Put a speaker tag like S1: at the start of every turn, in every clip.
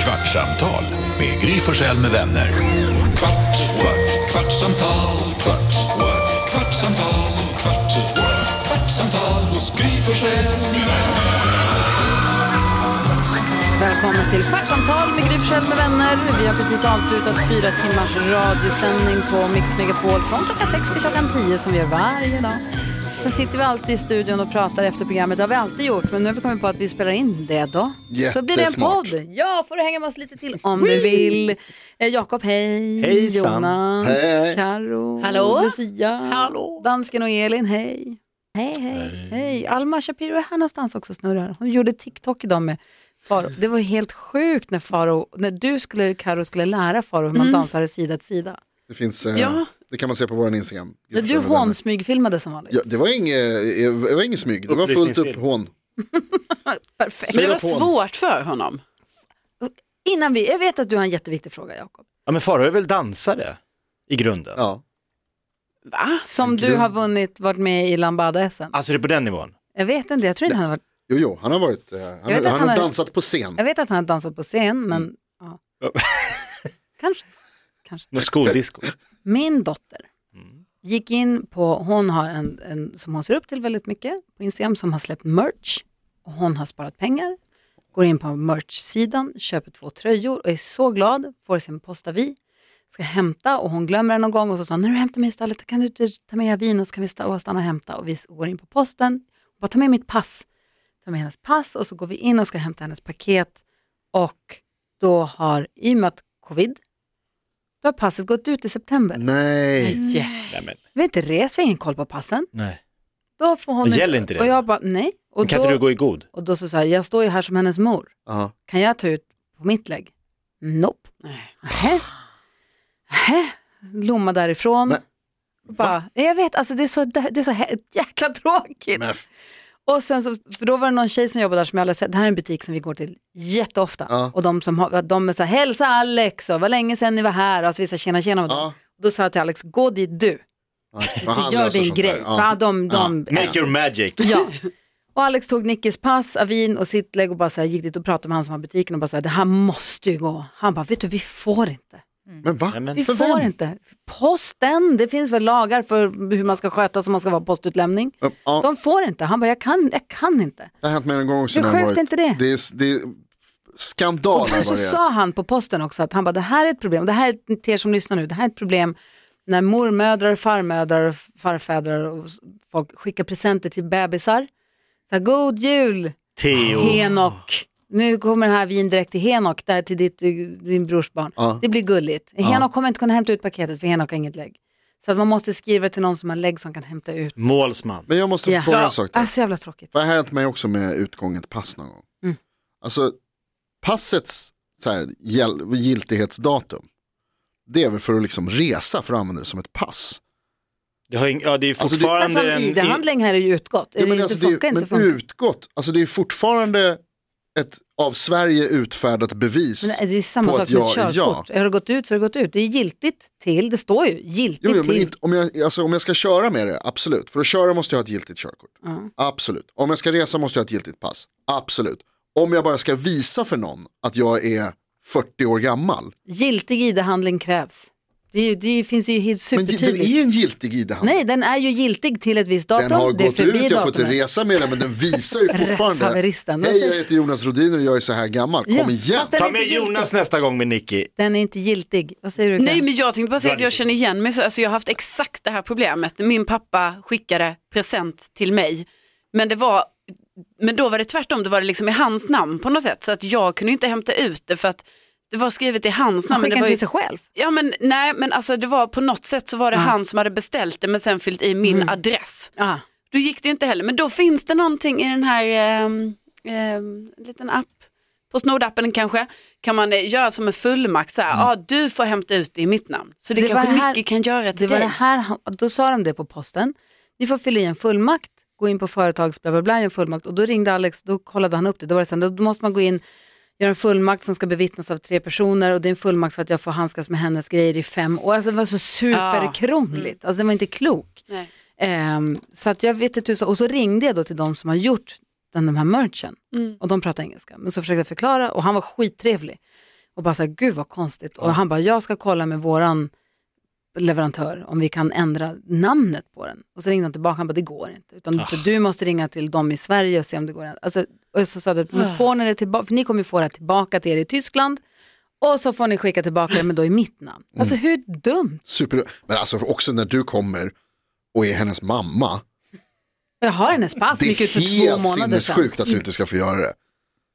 S1: Kvartsamtal med Gry Forssell med vänner. Kvart, what? kvartsamtal, kvart, what? kvartsamtal, kvart, what? kvartsamtal hos Gry Forssell med vänner.
S2: Välkommen till Kvartsamtal med Gry Forssell med vänner. Vi har precis avslutat fyra timmars radiosändning på Mix Megapol från klockan 6 till klockan 10 som vi gör varje dag. Sen sitter vi alltid i studion och pratar efter programmet. Det har vi alltid gjort, men nu har vi kommit på att vi spelar in det då. Så blir det en
S3: Jättesmart.
S2: podd. Ja, får du hänga med oss lite till om du vill. Eh, Jakob, hej.
S4: Hejsan.
S2: Jonas,
S3: Hej, hej.
S2: Karo,
S5: Hallå.
S2: Lucia, Hallå. Dansken och Elin, hej.
S5: Hej, hej.
S2: Hej, Alma Shapiro är här någonstans också och snurrar. Hon gjorde TikTok idag med Faro. Det var helt sjukt när Faro, när du skulle, Karo, skulle lära Faro
S5: Mm.
S2: hur man dansade sida till sida.
S3: Det finns, eh,
S5: Ja.
S3: det kan man se på vår Instagram.
S2: Men du
S3: Gud, vänner.
S2: hånsmygfilmade som vanligt.
S3: Ja, det var inget, det var inget smyg, det var fullt upp
S4: Upplysningsfilm.
S3: hån.
S2: Perfekt.
S5: Men det var
S3: Spela på honom.
S5: svårt för honom.
S2: Innan vi, jag vet att du har en jätteviktig fråga Jakob.
S4: Ja men Farao är väl dansare i grunden?
S3: Ja. Ah.
S5: Va?
S2: Som du har vunnit, varit med i Lambada-SM.
S4: Alltså det är på den nivån?
S2: Jag vet inte, jag tror inte han har varit,
S3: Jo, jo, han har varit, eh, han,
S2: vet
S3: han,
S2: att han
S3: har
S2: är-
S3: dansat på scen.
S2: jag vet att han har dansat på scen, men ja. kanske.
S4: Någon skoldisco?
S2: Min dotter gick in på, hon har en, en som hon ser upp till väldigt mycket på Instagram som har släppt merch och hon har sparat pengar. Går in på merch-sidan, köper två tröjor och är så glad, får sin postavi, ska hämta och hon glömmer den någon gång och så sa hon, när du hämtar mig i stallet kan du inte ta med vin och så kan vi sta- och stanna och hämta och vi går in på posten, och bara ta med mitt pass, ta med hennes pass och så går vi in och ska hämta hennes paket och då har, i och med att covid, då har passet gått ut i september.
S3: Nej,
S2: Yeah.
S4: Nej, men,
S2: Vi har inte rest, vi har ingen koll på passen.
S4: nej.
S2: Då får hon
S4: Men gäller inte det?
S2: Och jag bara, nej. Och
S4: Men kan inte du
S2: då,
S4: gå i god?
S2: och då så sa jag, jag står ju här som hennes mor.
S3: ja.
S2: Kan jag ta ut på mitt lägg? Nope.
S5: Nej.
S2: Nähä. Nähä. Lomma därifrån.
S3: Men-
S2: bara, jag vet, alltså det är så, det är så hä- jäkla tråkigt.
S3: Men f-
S2: Och sen så, för då var det någon tjej som jobbade där som jag aldrig sett, det här är en butik som vi går till jätteofta.
S3: Ja.
S2: Och de som har, de är så här, hälsa Alex och vad länge sedan ni var här, alltså vi sa tjena tjena med dem.
S3: ja.
S2: Då sa jag till Alex, gå dit du.
S3: ja just det, för han
S2: Gör
S3: löser
S2: din
S3: sånt där.
S2: grej. Ja.
S3: Ja.
S2: De, de,
S4: Make your magic!
S2: ja. Och Alex tog Nickes pass, Avin och sitt lägg och bara så här, gick dit och pratade med han som har butiken och bara så här, det här måste ju gå. Han bara, vet du, vi får inte.
S3: Men va?
S4: Nej, men,
S2: Vi
S3: För
S2: får
S3: vem?
S2: inte. Posten, det finns väl lagar för hur man ska sköta som man ska vara postutlämning.
S3: Ja, ja,
S2: De får inte. Han bara, jag kan, jag kan inte.
S3: det har hänt mig en gång också.
S2: Hur
S3: när jag
S2: sjukt
S3: varit-
S2: är inte det?
S3: Det är, det är skandal
S2: Och
S3: här
S2: så
S3: vad det är.
S2: sa han på posten också att han bara, det här är ett problem, det här är till er som lyssnar nu, det här är ett problem när mormödrar, farmödrar, farfäder och s- folk skickar presenter till bebisar. Så här, God jul
S4: Theo.
S2: Henok, nu kommer den här vin direkt till Henok, där till ditt, eh, din brors barn.
S3: Ja.
S2: Det blir gulligt. Henok kommer inte kunna hämta ut paketet för Henok har inget lägg. Så att man måste skriva till någon som har lägg som kan hämta ut.
S4: Målsman.
S3: Men jag måste
S2: Ja.
S3: fråga en sak. där.
S2: Äh, så jävla tråkigt.
S3: För det här har hänt mig också med utgånget pass någon gång.
S2: Mm.
S3: Alltså passets så här, gäll- giltighetsdatum, det är väl för att liksom resa för att använda det som ett pass.
S4: Det, har ing- ja, det är
S3: Alltså, det-
S4: fortfarande
S2: Alltså en
S4: en... i-
S2: ID-handling här är ju utgått. Är
S3: Ja,
S2: det
S3: men
S2: inte
S3: alltså, det
S2: funkar
S3: är,
S2: inte
S3: men
S2: så funkar det.
S3: utgått, alltså det är fortfarande ett av Sverige utfärdat bevis.
S2: Men eh, det är ju samma
S3: på
S2: sak
S3: att
S2: med ett
S3: jag är
S2: körkort. Har det gått ut så har det gått ut. Det är giltigt till, det står ju giltigt
S3: Jo, jo, men
S2: till.
S3: inte, om, jag, alltså, om jag ska köra med det, absolut. För att köra måste jag ha ett giltigt körkort.
S2: Ja.
S3: Absolut. Om jag ska resa måste jag ha ett giltigt pass. Absolut. Om jag bara ska visa för någon att jag är 40 år gammal.
S2: Giltig ID-handling krävs. Det, är ju, det finns ju helt
S3: Men gi- den
S2: supertydligt.
S3: är en giltig ID-handling.
S2: Typ Nej, den är ju giltig till ett visst datum.
S3: Den har
S2: det är
S3: gått
S2: förbi
S3: ut, jag får inte
S2: datumet.
S3: resa med den, men den visar ju fortfarande.
S2: Rättshaveristen.
S3: Hej, jag heter Jonas Rodiner och jag är så här gammal. Kom
S2: Ja,
S3: igen.
S2: fast den-
S4: Ta med Jonas nästa gång med Nicky.
S2: Den är inte giltig. Vad säger du?
S5: Nej
S2: Karin?
S5: men jag tänkte bara säga att jag känner igen mig. Så- Alltså, jag har haft exakt det här problemet. Min pappa skickade present till mig. Men, det var, men då var det tvärtom, då var det liksom i hans namn på något sätt. Så att jag kunde inte hämta ut det för att det var skrivet i hans
S2: Han
S5: namn. men
S2: skickar
S5: det var
S2: den
S5: ju-
S2: till sig själv.
S5: Ja men nej men alltså det var på något sätt så var det han som hade beställt det men sen fyllt i min adress.
S2: Mm. Ja.
S5: Då gick det ju inte heller, men då finns det någonting i den här ehm, ehm, liten app, Postnord-appen kanske, kan man eh, göra som en fullmakt, så här, ah, du får hämta ut det i mitt namn. Så det,
S2: Mm. Det
S5: kanske
S2: var här-
S5: Nicky kan göra
S2: Det
S5: till
S2: var
S5: dig.
S2: det här, han- då sa de det på posten. Ni får fylla i en fullmakt, gå in på företags bla bla bla, göra en fullmakt. Och då ringde Alex, då kollade han upp det. Då var det sen, då måste man gå in, göra en fullmakt som ska bevittnas av tre personer och det är en fullmakt för att jag får handskas med hennes grejer i fem år. Alltså det var så superkrångligt, alltså det var inte klokt.
S5: Nej.
S2: Ehm, så att jag vet inte hur, så- och så ringde jag då till de som har gjort den, den här merchen. Och de pratar engelska. Men så försökte jag förklara och han var skittrevlig. och bara så här, gud vad konstigt. Och han bara, jag ska kolla med våran leverantör om vi kan ändra namnet på den. Och så ringde han tillbaka, han bara, det går inte. Utan du måste ringa till dem i Sverige och se om det går. att ändra." Alltså, och så sa jag, men får ni det tillbaka, för ni kommer ju få det här tillbaka till er i Tyskland. Och så får ni skicka tillbaka det, men då i mitt namn. Alltså hur dumt?
S3: Super... Men alltså också när du kommer och är hennes mamma,
S2: Jag har hennes pass,
S3: det
S2: gick ut för
S3: är
S2: två
S3: helt
S2: månader sedan.
S3: sinnessjukt att du inte ska få göra det.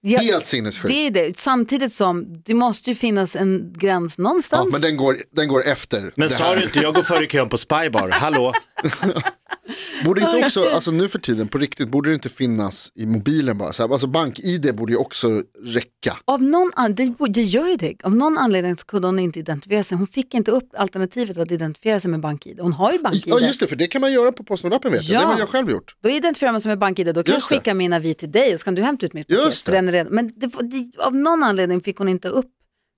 S2: Jag-
S3: Helt sinnessjukt.
S2: Det är det, samtidigt som det måste ju finnas en gräns någonstans.
S3: Ja, men den går, den går efter
S4: Men
S3: det
S4: sa
S3: här.
S4: du inte, jag går före i kön på Spybar, hallå?
S3: Borde inte också, alltså nu för tiden på riktigt, borde det inte finnas i mobilen bara? Så här, alltså bank-id borde ju också räcka.
S2: Av någon an- det, det gör ju det. Av någon anledning så kunde hon inte identifiera sig. Hon fick inte upp alternativet att identifiera sig med BankID. Hon har ju BankID.
S3: Ja just det, för det kan man göra på Postnord-appen vet
S2: Ja.
S3: jag. Det har jag själv gjort.
S2: Då identifierar man sig med BankID. Då kan
S3: Just det.
S2: jag skicka min avi till dig och så kan du hämta ut mitt paket.
S3: Just det.
S2: för Den är redan. Men det, var- det, av någon anledning fick hon inte upp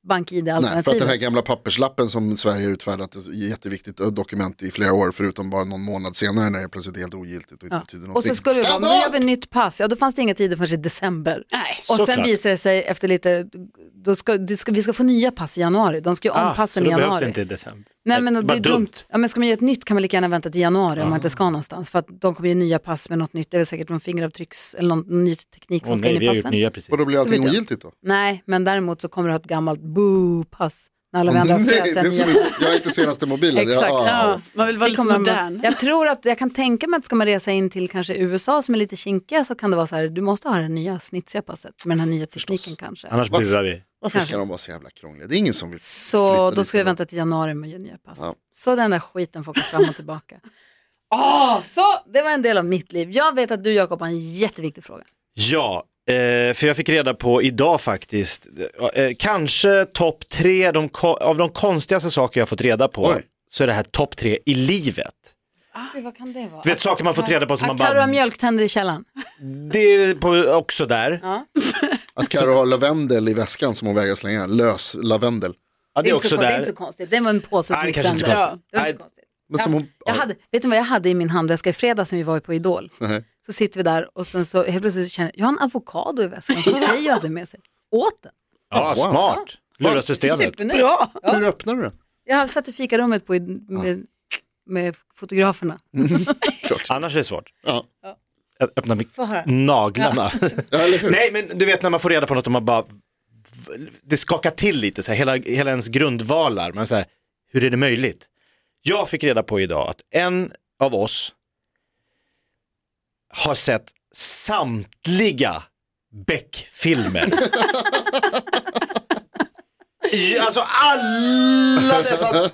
S3: Nej, för att
S2: BankID-alternativet.
S3: den här gamla papperslappen som Sverige har utfärdat, ett jätteviktigt eh, dokument i flera år, förutom bara någon månad senare när det plötsligt är helt ogiltigt och inte
S2: Ja.
S3: betyder
S2: Och
S3: någonting.
S2: så skulle det vara,
S3: Skandal!
S2: men då gör vi nytt pass. Ja, då fanns det inga tider förrän i december.
S5: Nej.
S2: Och sen
S4: Såklart.
S2: visar det sig efter lite, då ska, det ska, vi ska få nya pass i januari. De ska ju om
S4: Ah, så
S2: passen i
S4: då behövs
S2: januari.
S4: det inte i december.
S2: Nej men det
S4: Vad
S2: är dumt. Ja, men ska man göra ett nytt kan man lika gärna vänta till januari om man
S4: Ah.
S2: inte ska någonstans. För att de kommer ju nya pass med något nytt. Det är väl säkert någon fingeravtrycks eller någon, någon ny teknik som
S4: Åh
S2: ska
S4: nej,
S2: in
S4: vi
S2: i
S4: har gjort
S2: passen.
S4: nya precis.
S3: Och då blir
S2: Det
S3: allting
S2: vet jag.
S3: ogiltigt då?
S2: Nej, men däremot så kommer du ha ett gammalt boo-pass. När alla vi andra har
S3: Nej,
S2: fräsen
S3: det är som
S2: nya-
S3: inte, jag är inte senaste mobilen.
S2: Exakt,
S3: jag,
S5: Ja, man vill vara
S2: Det
S5: lite
S2: kommer
S5: modern.
S2: man, jag tror att jag kan tänka mig att ska man resa in till kanske USA som är lite kinkiga så kan det vara så här, du måste ha det nya snitsiga passet med den här nya tekniken kanske.
S4: Annars
S3: Varför?
S4: buar vi.
S3: Varför
S2: Kanske.
S3: ska de vara så jävla krångliga? Det är ingen som vill
S2: Så då
S3: flytta dit
S2: ska vi
S3: ändå.
S2: vänta till januari med att göra nya pass.
S3: Ja.
S2: Så den där skiten får åka fram och tillbaka. Åh, så det var en del av mitt liv. Jag vet att du Jakob har en jätteviktig fråga.
S4: Ja, eh, för jag fick reda på idag faktiskt, eh, kanske topp tre de, ko- av de konstigaste saker jag fått reda på,
S3: Oj.
S4: så är det här topp tre i livet.
S2: Gud, vad kan det vara?
S4: Du vet saker man fått reda på som man
S2: att Carro har
S4: bara,
S2: mjölktänder i källaren.
S4: det är på, också där.
S2: Ja.
S3: Att Carro har lavendel i väskan som hon vägrar slänga, lös lavendel.
S4: Ja, det är
S2: inte så,
S4: också
S2: kon- det är
S4: där.
S2: inte så konstigt. Det var en påse
S4: Nej,
S2: som
S4: det
S2: gick
S4: kanske inte
S2: sönder.
S4: är konstigt.
S2: Ja, det var inte
S4: Nej.
S2: så konstigt.
S3: Men som hon,
S2: Jag hade, vet du vad jag hade i min handväska i fredags när vi var på Idol?
S3: Nej.
S2: Så sitter vi där och sen så helt plötsligt så känner jag, jag har en avokado i väskan som Keyyo hade med sig. Åt den.
S4: Ja,
S3: Wow.
S4: smart. Lura systemet.
S2: Supernöjd. Bra. Ja.
S3: Hur öppnar du den?
S2: Jag satt i fikarummet på, Id- med, med fotograferna.
S4: Annars är det svårt.
S3: Ja.
S4: Att öppna med
S2: Få höra.
S4: naglarna.
S3: Ja, eller hur?
S4: Nej, men du vet när man får reda på något och man bara, det skakar till lite, så här, hela, hela ens grundvalar. Man så här, hur är det möjligt? Jag fick reda på idag att en av oss har sett samtliga Beck-filmer. I- alltså alla dessa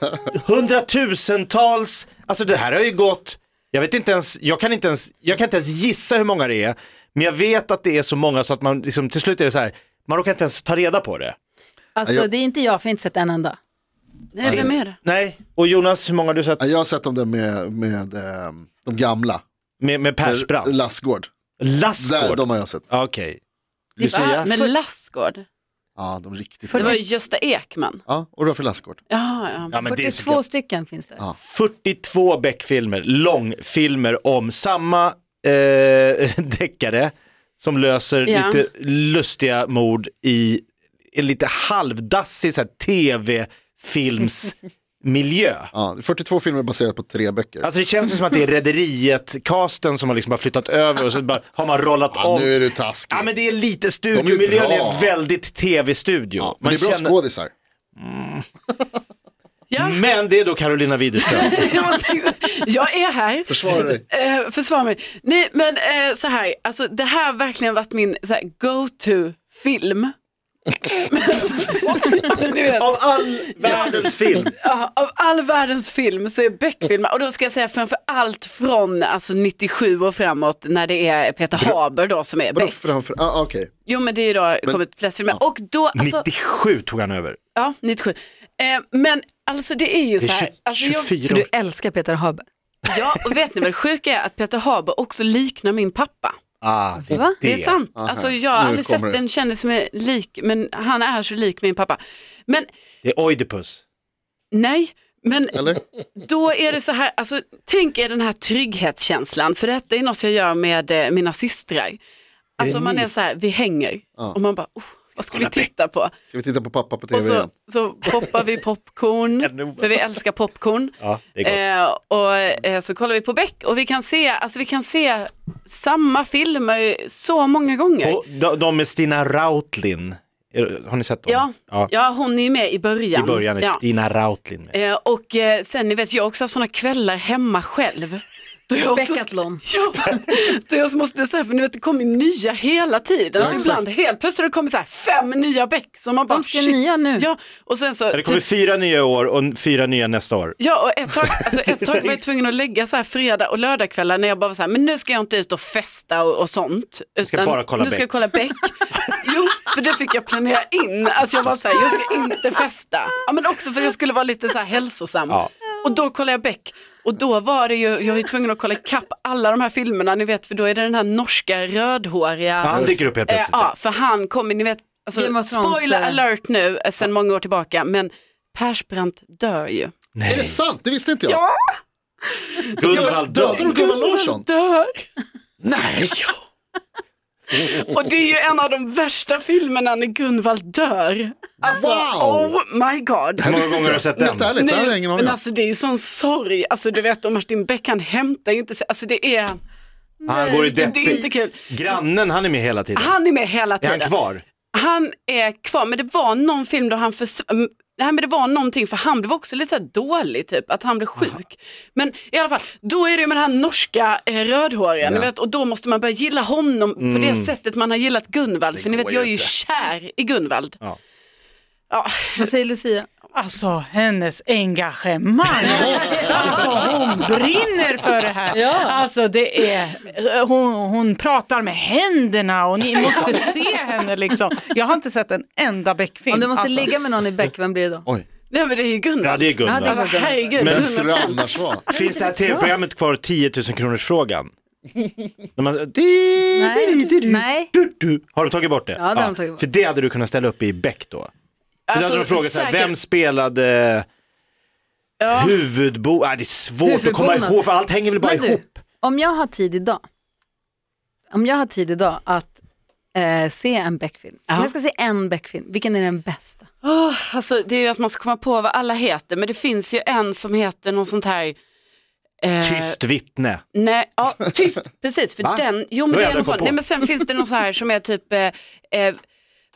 S4: hundratusentals, alltså det här har ju gått, jag vet inte ens, jag kan inte ens, jag kan inte ens gissa hur många det är, men jag vet att det är så många så att man liksom, till slut är det så här, man råkar inte ens ta reda på det.
S2: Alltså
S3: Ja, jag-
S2: det är inte jag, för jag har inte sett en enda.
S5: Nej, vem är det?
S4: Nej, och Jonas, hur många har du sett
S3: Ja, Jag har sett om det med, med ehm, de gamla.
S4: med, med Persbrandt?
S3: Lassgård. Där,
S4: Lassgård?
S3: de har jag sett.
S4: Ja, Okej. Lucia?
S5: Va? Men Lassgård?
S3: Ja, de riktigt.
S5: Det var ju Gösta Ekman.
S3: Ja, och Raffe Lassgård.
S5: Ja, ja.
S4: Ja, men det är så
S2: 42 stycken finns det.
S3: Ja.
S4: 42 Beck-filmer, långfilmer om samma eh, deckare som löser
S5: Ja.
S4: lite lustiga mord i en lite halvdassig så här tv-filmsmiljö.
S3: Ja, 42 filmer baserat på tre böcker.
S4: Alltså det känns ju som att det är Rederiet-casten som har liksom bara flyttat över och så bara har man rollat
S3: ja,
S4: om.
S3: nu är du taskig.
S4: Ja men det är lite
S3: De
S4: studiomiljön
S3: är bra.
S4: är väldigt tv-studio.
S3: Ja, men
S4: Man
S3: det är bra
S4: känner-
S3: skådisar.
S5: Ja.
S4: men det är då Carolina Widerström.
S5: Jag, tänkte, jag är här.
S3: Försvara dig.
S5: Eh, försvara mig. Nej, men eh, så här, alltså, det här har verkligen varit min så här, go-to-film. Ni vet,
S4: Av all världens film.
S5: ja, av all världens film så är Beck-filmer, och då ska jag säga framför allt från alltså, 97 och framåt när det är Peter Haber då som är
S3: Vadå
S5: Beck.
S3: framför? Ah, Okej,
S5: Jo men det är ju då kommit flest filmer. Och då, alltså,
S4: 97 tog han över.
S5: ja, 97. Eh, men alltså det är ju
S4: Det är
S5: så här.
S4: 20,
S5: Alltså, jag-
S4: 24
S2: För
S4: år.
S2: du älskar Peter Haber.
S5: Ja, och vet ni vad det sjuka är? Att Peter Haber också liknar min pappa.
S4: Ah, det,
S2: Va?
S5: Det är sant.
S3: Aha.
S5: Alltså, jag har
S3: Nu
S5: aldrig
S3: kommer
S5: sett
S3: det.
S5: en kändis som är lik, men han är så lik min pappa. Men
S4: Det är Oidipus.
S5: nej, men
S3: eller?
S5: då är det så här, alltså, tänk er den här trygghetskänslan, för detta är något jag gör med eh, mina systrar. Alltså man är så här, vi hänger
S3: Ja.
S5: och man bara, oh, Vad ska vi titta på?
S3: Ska vi titta på pappa på tv
S5: Och så,
S3: igen?
S5: så poppar vi popcorn,
S4: Ännu-
S5: för vi älskar popcorn.
S4: Ja, det är gott.
S5: Eh, och eh, så kollar vi på Beck och vi kan se, alltså vi kan se samma filmer så många gånger.
S4: Och de, de med Stina Rautlin, Är- har ni sett dem?
S5: Ja, ja. hon är ju med i början.
S4: I början är
S5: ja.
S4: Stina Rautlin med.
S5: eh, Och eh, sen, ni vet, jag har också haft sådana kvällar hemma själv. Då jag också-
S2: Decathlon.
S5: Ja, då jag måste säga, för nu vet, det kommer ju nya hela tiden.
S3: Ja,
S5: så
S3: exakt.
S5: ibland helt plötsligt har det kommit så här fem nya Beck som man bara,
S2: De ska nya nu.
S5: Ja, och sen så,
S4: Ja, Det kommer
S5: typ,
S4: fyra nya år och fyra nya nästa år.
S5: ja, och ett tag, alltså, ett tag var jag tvungen att lägga så här fredag och lördagkvällar när jag bara var så här, men nu ska jag inte ut och festa och, och sånt. Utan
S4: bara kolla
S5: nu ska jag
S4: Beck."
S5: kolla Beck. Jo, för det fick jag planera in, att jag var så här, jag ska inte festa. Ja, men också för jag skulle vara lite så här hälsosam.
S4: Ja.
S5: Och då kollade jag Beck. Och då var det ju, jag var ju tvungen att kolla kapp alla de här filmerna, ni vet, för då är det den här norska rödhåriga
S4: Han dyker upp helt
S5: Eh,
S4: plötsligt.
S5: ja, för han kommer, ni vet,
S2: Game
S5: alltså,
S2: of Thrones,
S5: spoiler
S2: eh,
S5: alert nu, eh, sen många år tillbaka, men Persbrandt dör ju.
S3: Är det
S4: Nej,
S3: sant? Det visste inte jag.
S4: Gunvald
S3: Dödar de
S4: Dörr.
S3: Gunnar Larsson?
S5: Dör!
S3: Nej!
S5: Och det är ju en av de värsta filmerna när Gunvald dör. Alltså,
S3: Wow!
S5: oh my god.
S4: Hur många gånger har du sett den?
S3: Helt ärligt, det här har jag ingen aning
S5: men
S3: om.
S5: alltså det är ju sån sorg, alltså du vet och Martin Beck han hämtar ju inte sig, alltså det är,
S4: Han går i
S5: det är inte
S4: deppigt.
S5: kul.
S4: Grannen, han är med hela tiden.
S5: Han är med hela
S4: Är
S5: tiden.
S4: han kvar?
S5: Han är kvar, men det var någon film då han förs- mm, Nej men det var någonting för han blev också lite så här dålig typ, att han blev sjuk. Men i alla fall, då är det ju med den här norska eh, rödhåriga, ni
S3: Ja.
S5: vet, och då måste man börja gilla honom på det
S4: Mm.
S5: sättet man har gillat Gunvald, för ni vet
S3: går
S5: jag är
S3: ju
S5: ju
S3: inte.
S5: kär i Gunvald.
S4: Ja.
S5: Ja.
S2: Vad säger Lucia?
S6: Alltså hennes engagemang. Alltså hon brinner för det här.
S2: Ja.
S6: Alltså det är, hon, hon pratar med händerna och ni måste se henne liksom. Jag har inte sett en enda Beck-film.
S2: Om du måste
S6: alltså.
S2: ligga med någon i Bäck, vem blir det då?
S3: Oj,
S5: Nej men det är ju Gunvald.
S4: Ja, det
S2: Ja, det
S4: är
S2: är
S4: Gunvald.
S5: Alltså, herregud,
S4: Men-
S3: vem skulle det
S5: 100%.
S3: annars vara?
S4: Finns det här tv-programmet kvar 10 000 kronors frågan? När man, di, di, di, di,
S2: Nej.
S4: du, du. Har de tagit bort det?
S2: Ja, det har de tagit bort. Alltså,
S4: För det hade du kunnat ställa upp i Beck då? För då hade de frågat så här,
S5: Alltså, säkert.
S4: vem spelade huvudbo? Nej, det är svårt att komma
S2: Huvudbonaden.
S4: ihåg för allt hänger väl bara
S2: Men du,
S4: ihop.
S2: om jag har tid idag, om jag har tid idag att eh, se en Beck-film, om jag ska se en Beck-film, vilken är den bästa?
S5: Åh, alltså, det är ju att man ska komma på vad alla heter, men det finns ju en som heter någon sånt här... eh,
S4: Tyst vittne.
S5: Nej, ja, tyst, precis. För
S4: Va?
S5: den, jo,
S4: Det
S5: men
S4: var
S5: det
S4: jag
S5: är någon
S4: aldrig
S5: sån.
S4: kom på.
S5: Nej, men sen finns det någon så här som är typ, eh, eh,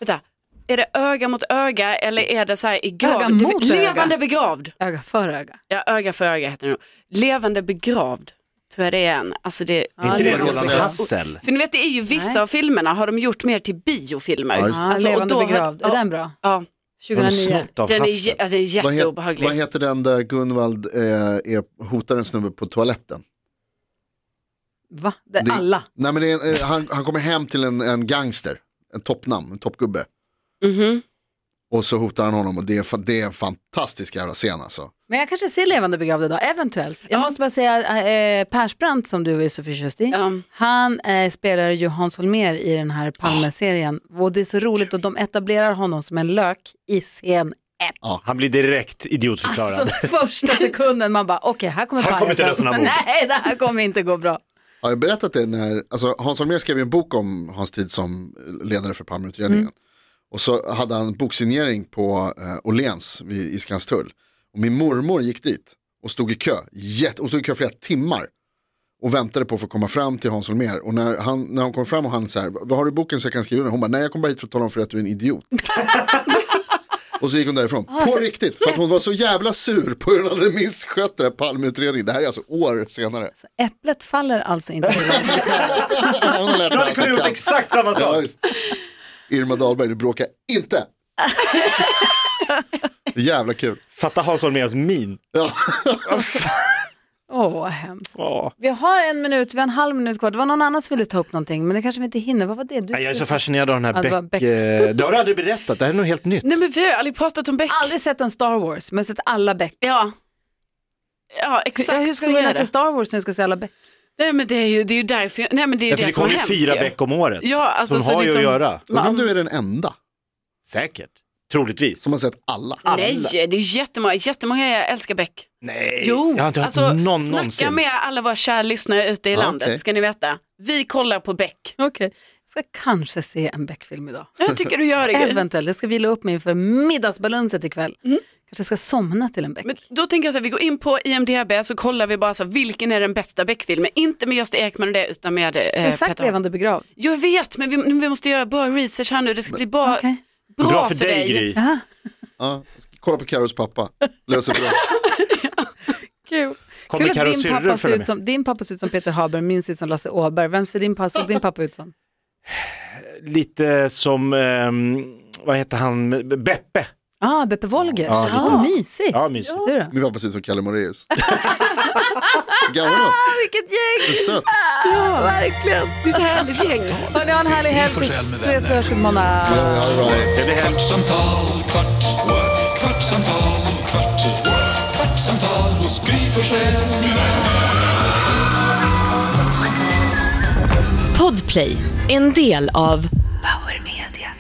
S5: vänta, är det öga mot öga eller är det så här i grav?
S2: Öga
S5: Det-
S2: mot öga.
S5: Levande begravd.
S2: Öga för öga.
S5: Ja, öga för öga heter det nog. Levande begravd, tror jag det är en. Alltså det,
S4: Är inte
S2: det
S4: det
S2: var
S4: Roland
S3: jättebra.
S4: Hassel?
S5: För ni vet, det är ju vissa
S2: Nej.
S5: av filmerna har de gjort mer till biofilmer.
S3: Ja, just
S2: Ja,
S3: det.
S5: Alltså, och
S2: levande
S5: då har-
S2: begravd, är
S5: ja,
S2: den bra?
S5: Ja,
S4: Har du
S2: 2009.
S4: snott av
S5: den är,
S4: Hassel?
S5: jä- alltså, den är
S3: Vad, het,
S5: jätteobehaglig.
S3: vad heter den där Gunvald eh, är, hotar en snubbe på toaletten?
S2: Va? Det är
S3: Det-
S2: alla.
S3: Nej, men det är en, eh, han, han kommer hem till en, en gangster, en toppnamn, en toppgubbe.
S5: Mhm.
S3: Och så hotar han honom och det är, fa- det är en fantastisk jävla scen alltså.
S2: Men jag kanske ser Levande begravd idag, eventuellt. Jag måste bara säga, eh, Persbrandt som du är så förtjust i,
S5: Ja.
S2: han eh, spelar ju Hans Holmér i den här Palme-serien. Och det är så roligt och de etablerar honom som en lök i scen ett.
S4: Han blir direkt idiotförklarad.
S2: Alltså första sekunden man bara, okej här kommer
S4: Han kommer
S2: pajasen.
S4: inte lösa några bok.
S2: Nej, det här kommer inte gå bra.
S3: Har jag berättat det när, alltså Hans Holmér skrev ju en bok om hans tid som ledare för Palmeutredningen. Och så hade han boksignering på eh, Åhléns vid- i Skanstull. Och min mormor gick dit och stod i kö, jätte, och stod i kö flera timmar. Och väntade på att få komma fram till Hans Holmér. Och när, han, när hon kom fram och han så här, vad har du i boken så jag kan skriva den? Hon bara, nej jag kom bara hit för att tala om för att du är en idiot. och så gick hon därifrån, på riktigt. För att hon var så jävla sur på hur hon hade misskött den här Palmeutredningen. Det här är alltså år senare.
S2: Så äpplet faller alltså inte.
S3: Hon har lärt mig
S4: hade
S3: allt jag
S4: kunnat gjort
S3: kan.
S4: exakt samma
S3: Ja,
S4: sak.
S3: visst. Irma Dahlberg, du bråkar inte. Jävla kul.
S4: Fatta Hans Holmérs min.
S3: Ja.
S2: Åh, vad hemskt.
S4: Åh.
S2: Vi har en minut, vi har en halv minut kvar. Det var någon annan som ville ta upp någonting, men det kanske vi inte hinner. Vad var det? Du
S4: Nej, Jag är så
S2: skulle-
S4: fascinerad av den
S2: Ja,
S4: här
S2: det var
S4: Beck.
S2: Beck.
S4: eh, Det har du aldrig berättat, det här är nog helt nytt.
S5: Alltså, Nej, men vi har ju aldrig pratat om Beck.
S2: Aldrig sett en Star Wars, men jag har sett alla Beck.
S5: Ja. Ja,
S2: Hur,
S5: exakt
S2: hur ska
S5: så
S2: du
S5: är
S2: hinna se
S5: det.
S2: Star Wars när du ska se alla Beck?
S5: Nej men det är ju, det är ju därför, jag- nej men det är ju
S4: Ja,
S5: det,
S4: för det
S5: som har
S4: kommer ju
S5: hänt
S4: fyra
S5: ju.
S4: Beck om året.
S5: Ja, alltså,
S4: så
S5: så
S4: de har ju att
S5: liksom-
S4: göra.
S3: Undrar om du är den enda
S4: Säkert. Troligtvis.
S3: som har sett alla.
S5: Nej, det är ju jättemånga, jättemånga jag älskar Beck.
S4: Nej,
S5: Jo,
S4: Eh, jag har inte hört
S5: alltså
S4: någon
S5: snacka
S4: någonsin.
S5: med alla våra kära lyssnare ute i
S3: Ja,
S5: landet
S3: okej.
S5: ska ni veta. Vi kollar på Beck.
S2: Okej. Ska kanske se en Beck-film idag.
S5: Jag tycker du gör det. Gry.
S2: Eventuellt. Jag ska vila upp mig inför middagsbalanset ikväll. Kanske ska somna till en Beck.
S5: Men då tänker jag så här, vi går in på IMDB så kollar vi bara så här, vilken är den bästa Beck-filmen. Inte med Gösta Ekman och det utan med eh,
S2: Exakt
S5: Petter Holm.
S2: levande begravd.
S5: Jag vet men vi, vi måste göra bra research här nu. Det ska bli bra,
S2: Okej.
S5: bra,
S4: Bra för dig Gry.
S3: Ja, ska kolla på Carros pappa, löser brott.
S2: Kul.
S4: Kommer
S2: Kul att
S4: Karos
S2: din pappa,
S4: syrror
S2: ser
S4: följa
S2: ut
S4: med?
S2: som, din pappa ser ut som Peter Haber, min ser ut som Lasse Åberg. Vem ser din, pappa, såg din pappa ut som?
S4: Lite som, ehm, vad heter han, Beppe.
S2: Ah, Beppe Wolgers.
S4: Ja,
S2: Ja,
S4: lite.
S2: mysigt.
S4: Ja, mysigt.
S2: Du då?
S3: Min pappa ser ut som Kalle Moraeus. Garvar du?
S2: Ah, Vilket gäng!
S3: Det är söt.
S2: Ja, verkligen. Det är ett härligt gäng. Hörni, ha en härlig helg så
S1: Gry Forssell med
S2: ses vi
S1: vänner.
S2: hörs imorgon.
S3: Ja, det var det.
S4: Trevlig helg.
S1: Kvartsamtal, kvart, what? kvartsamtal, kvart, what? kvartsamtal hos Gry Forssell med vänner.
S7: Podplay, en del av Power Media.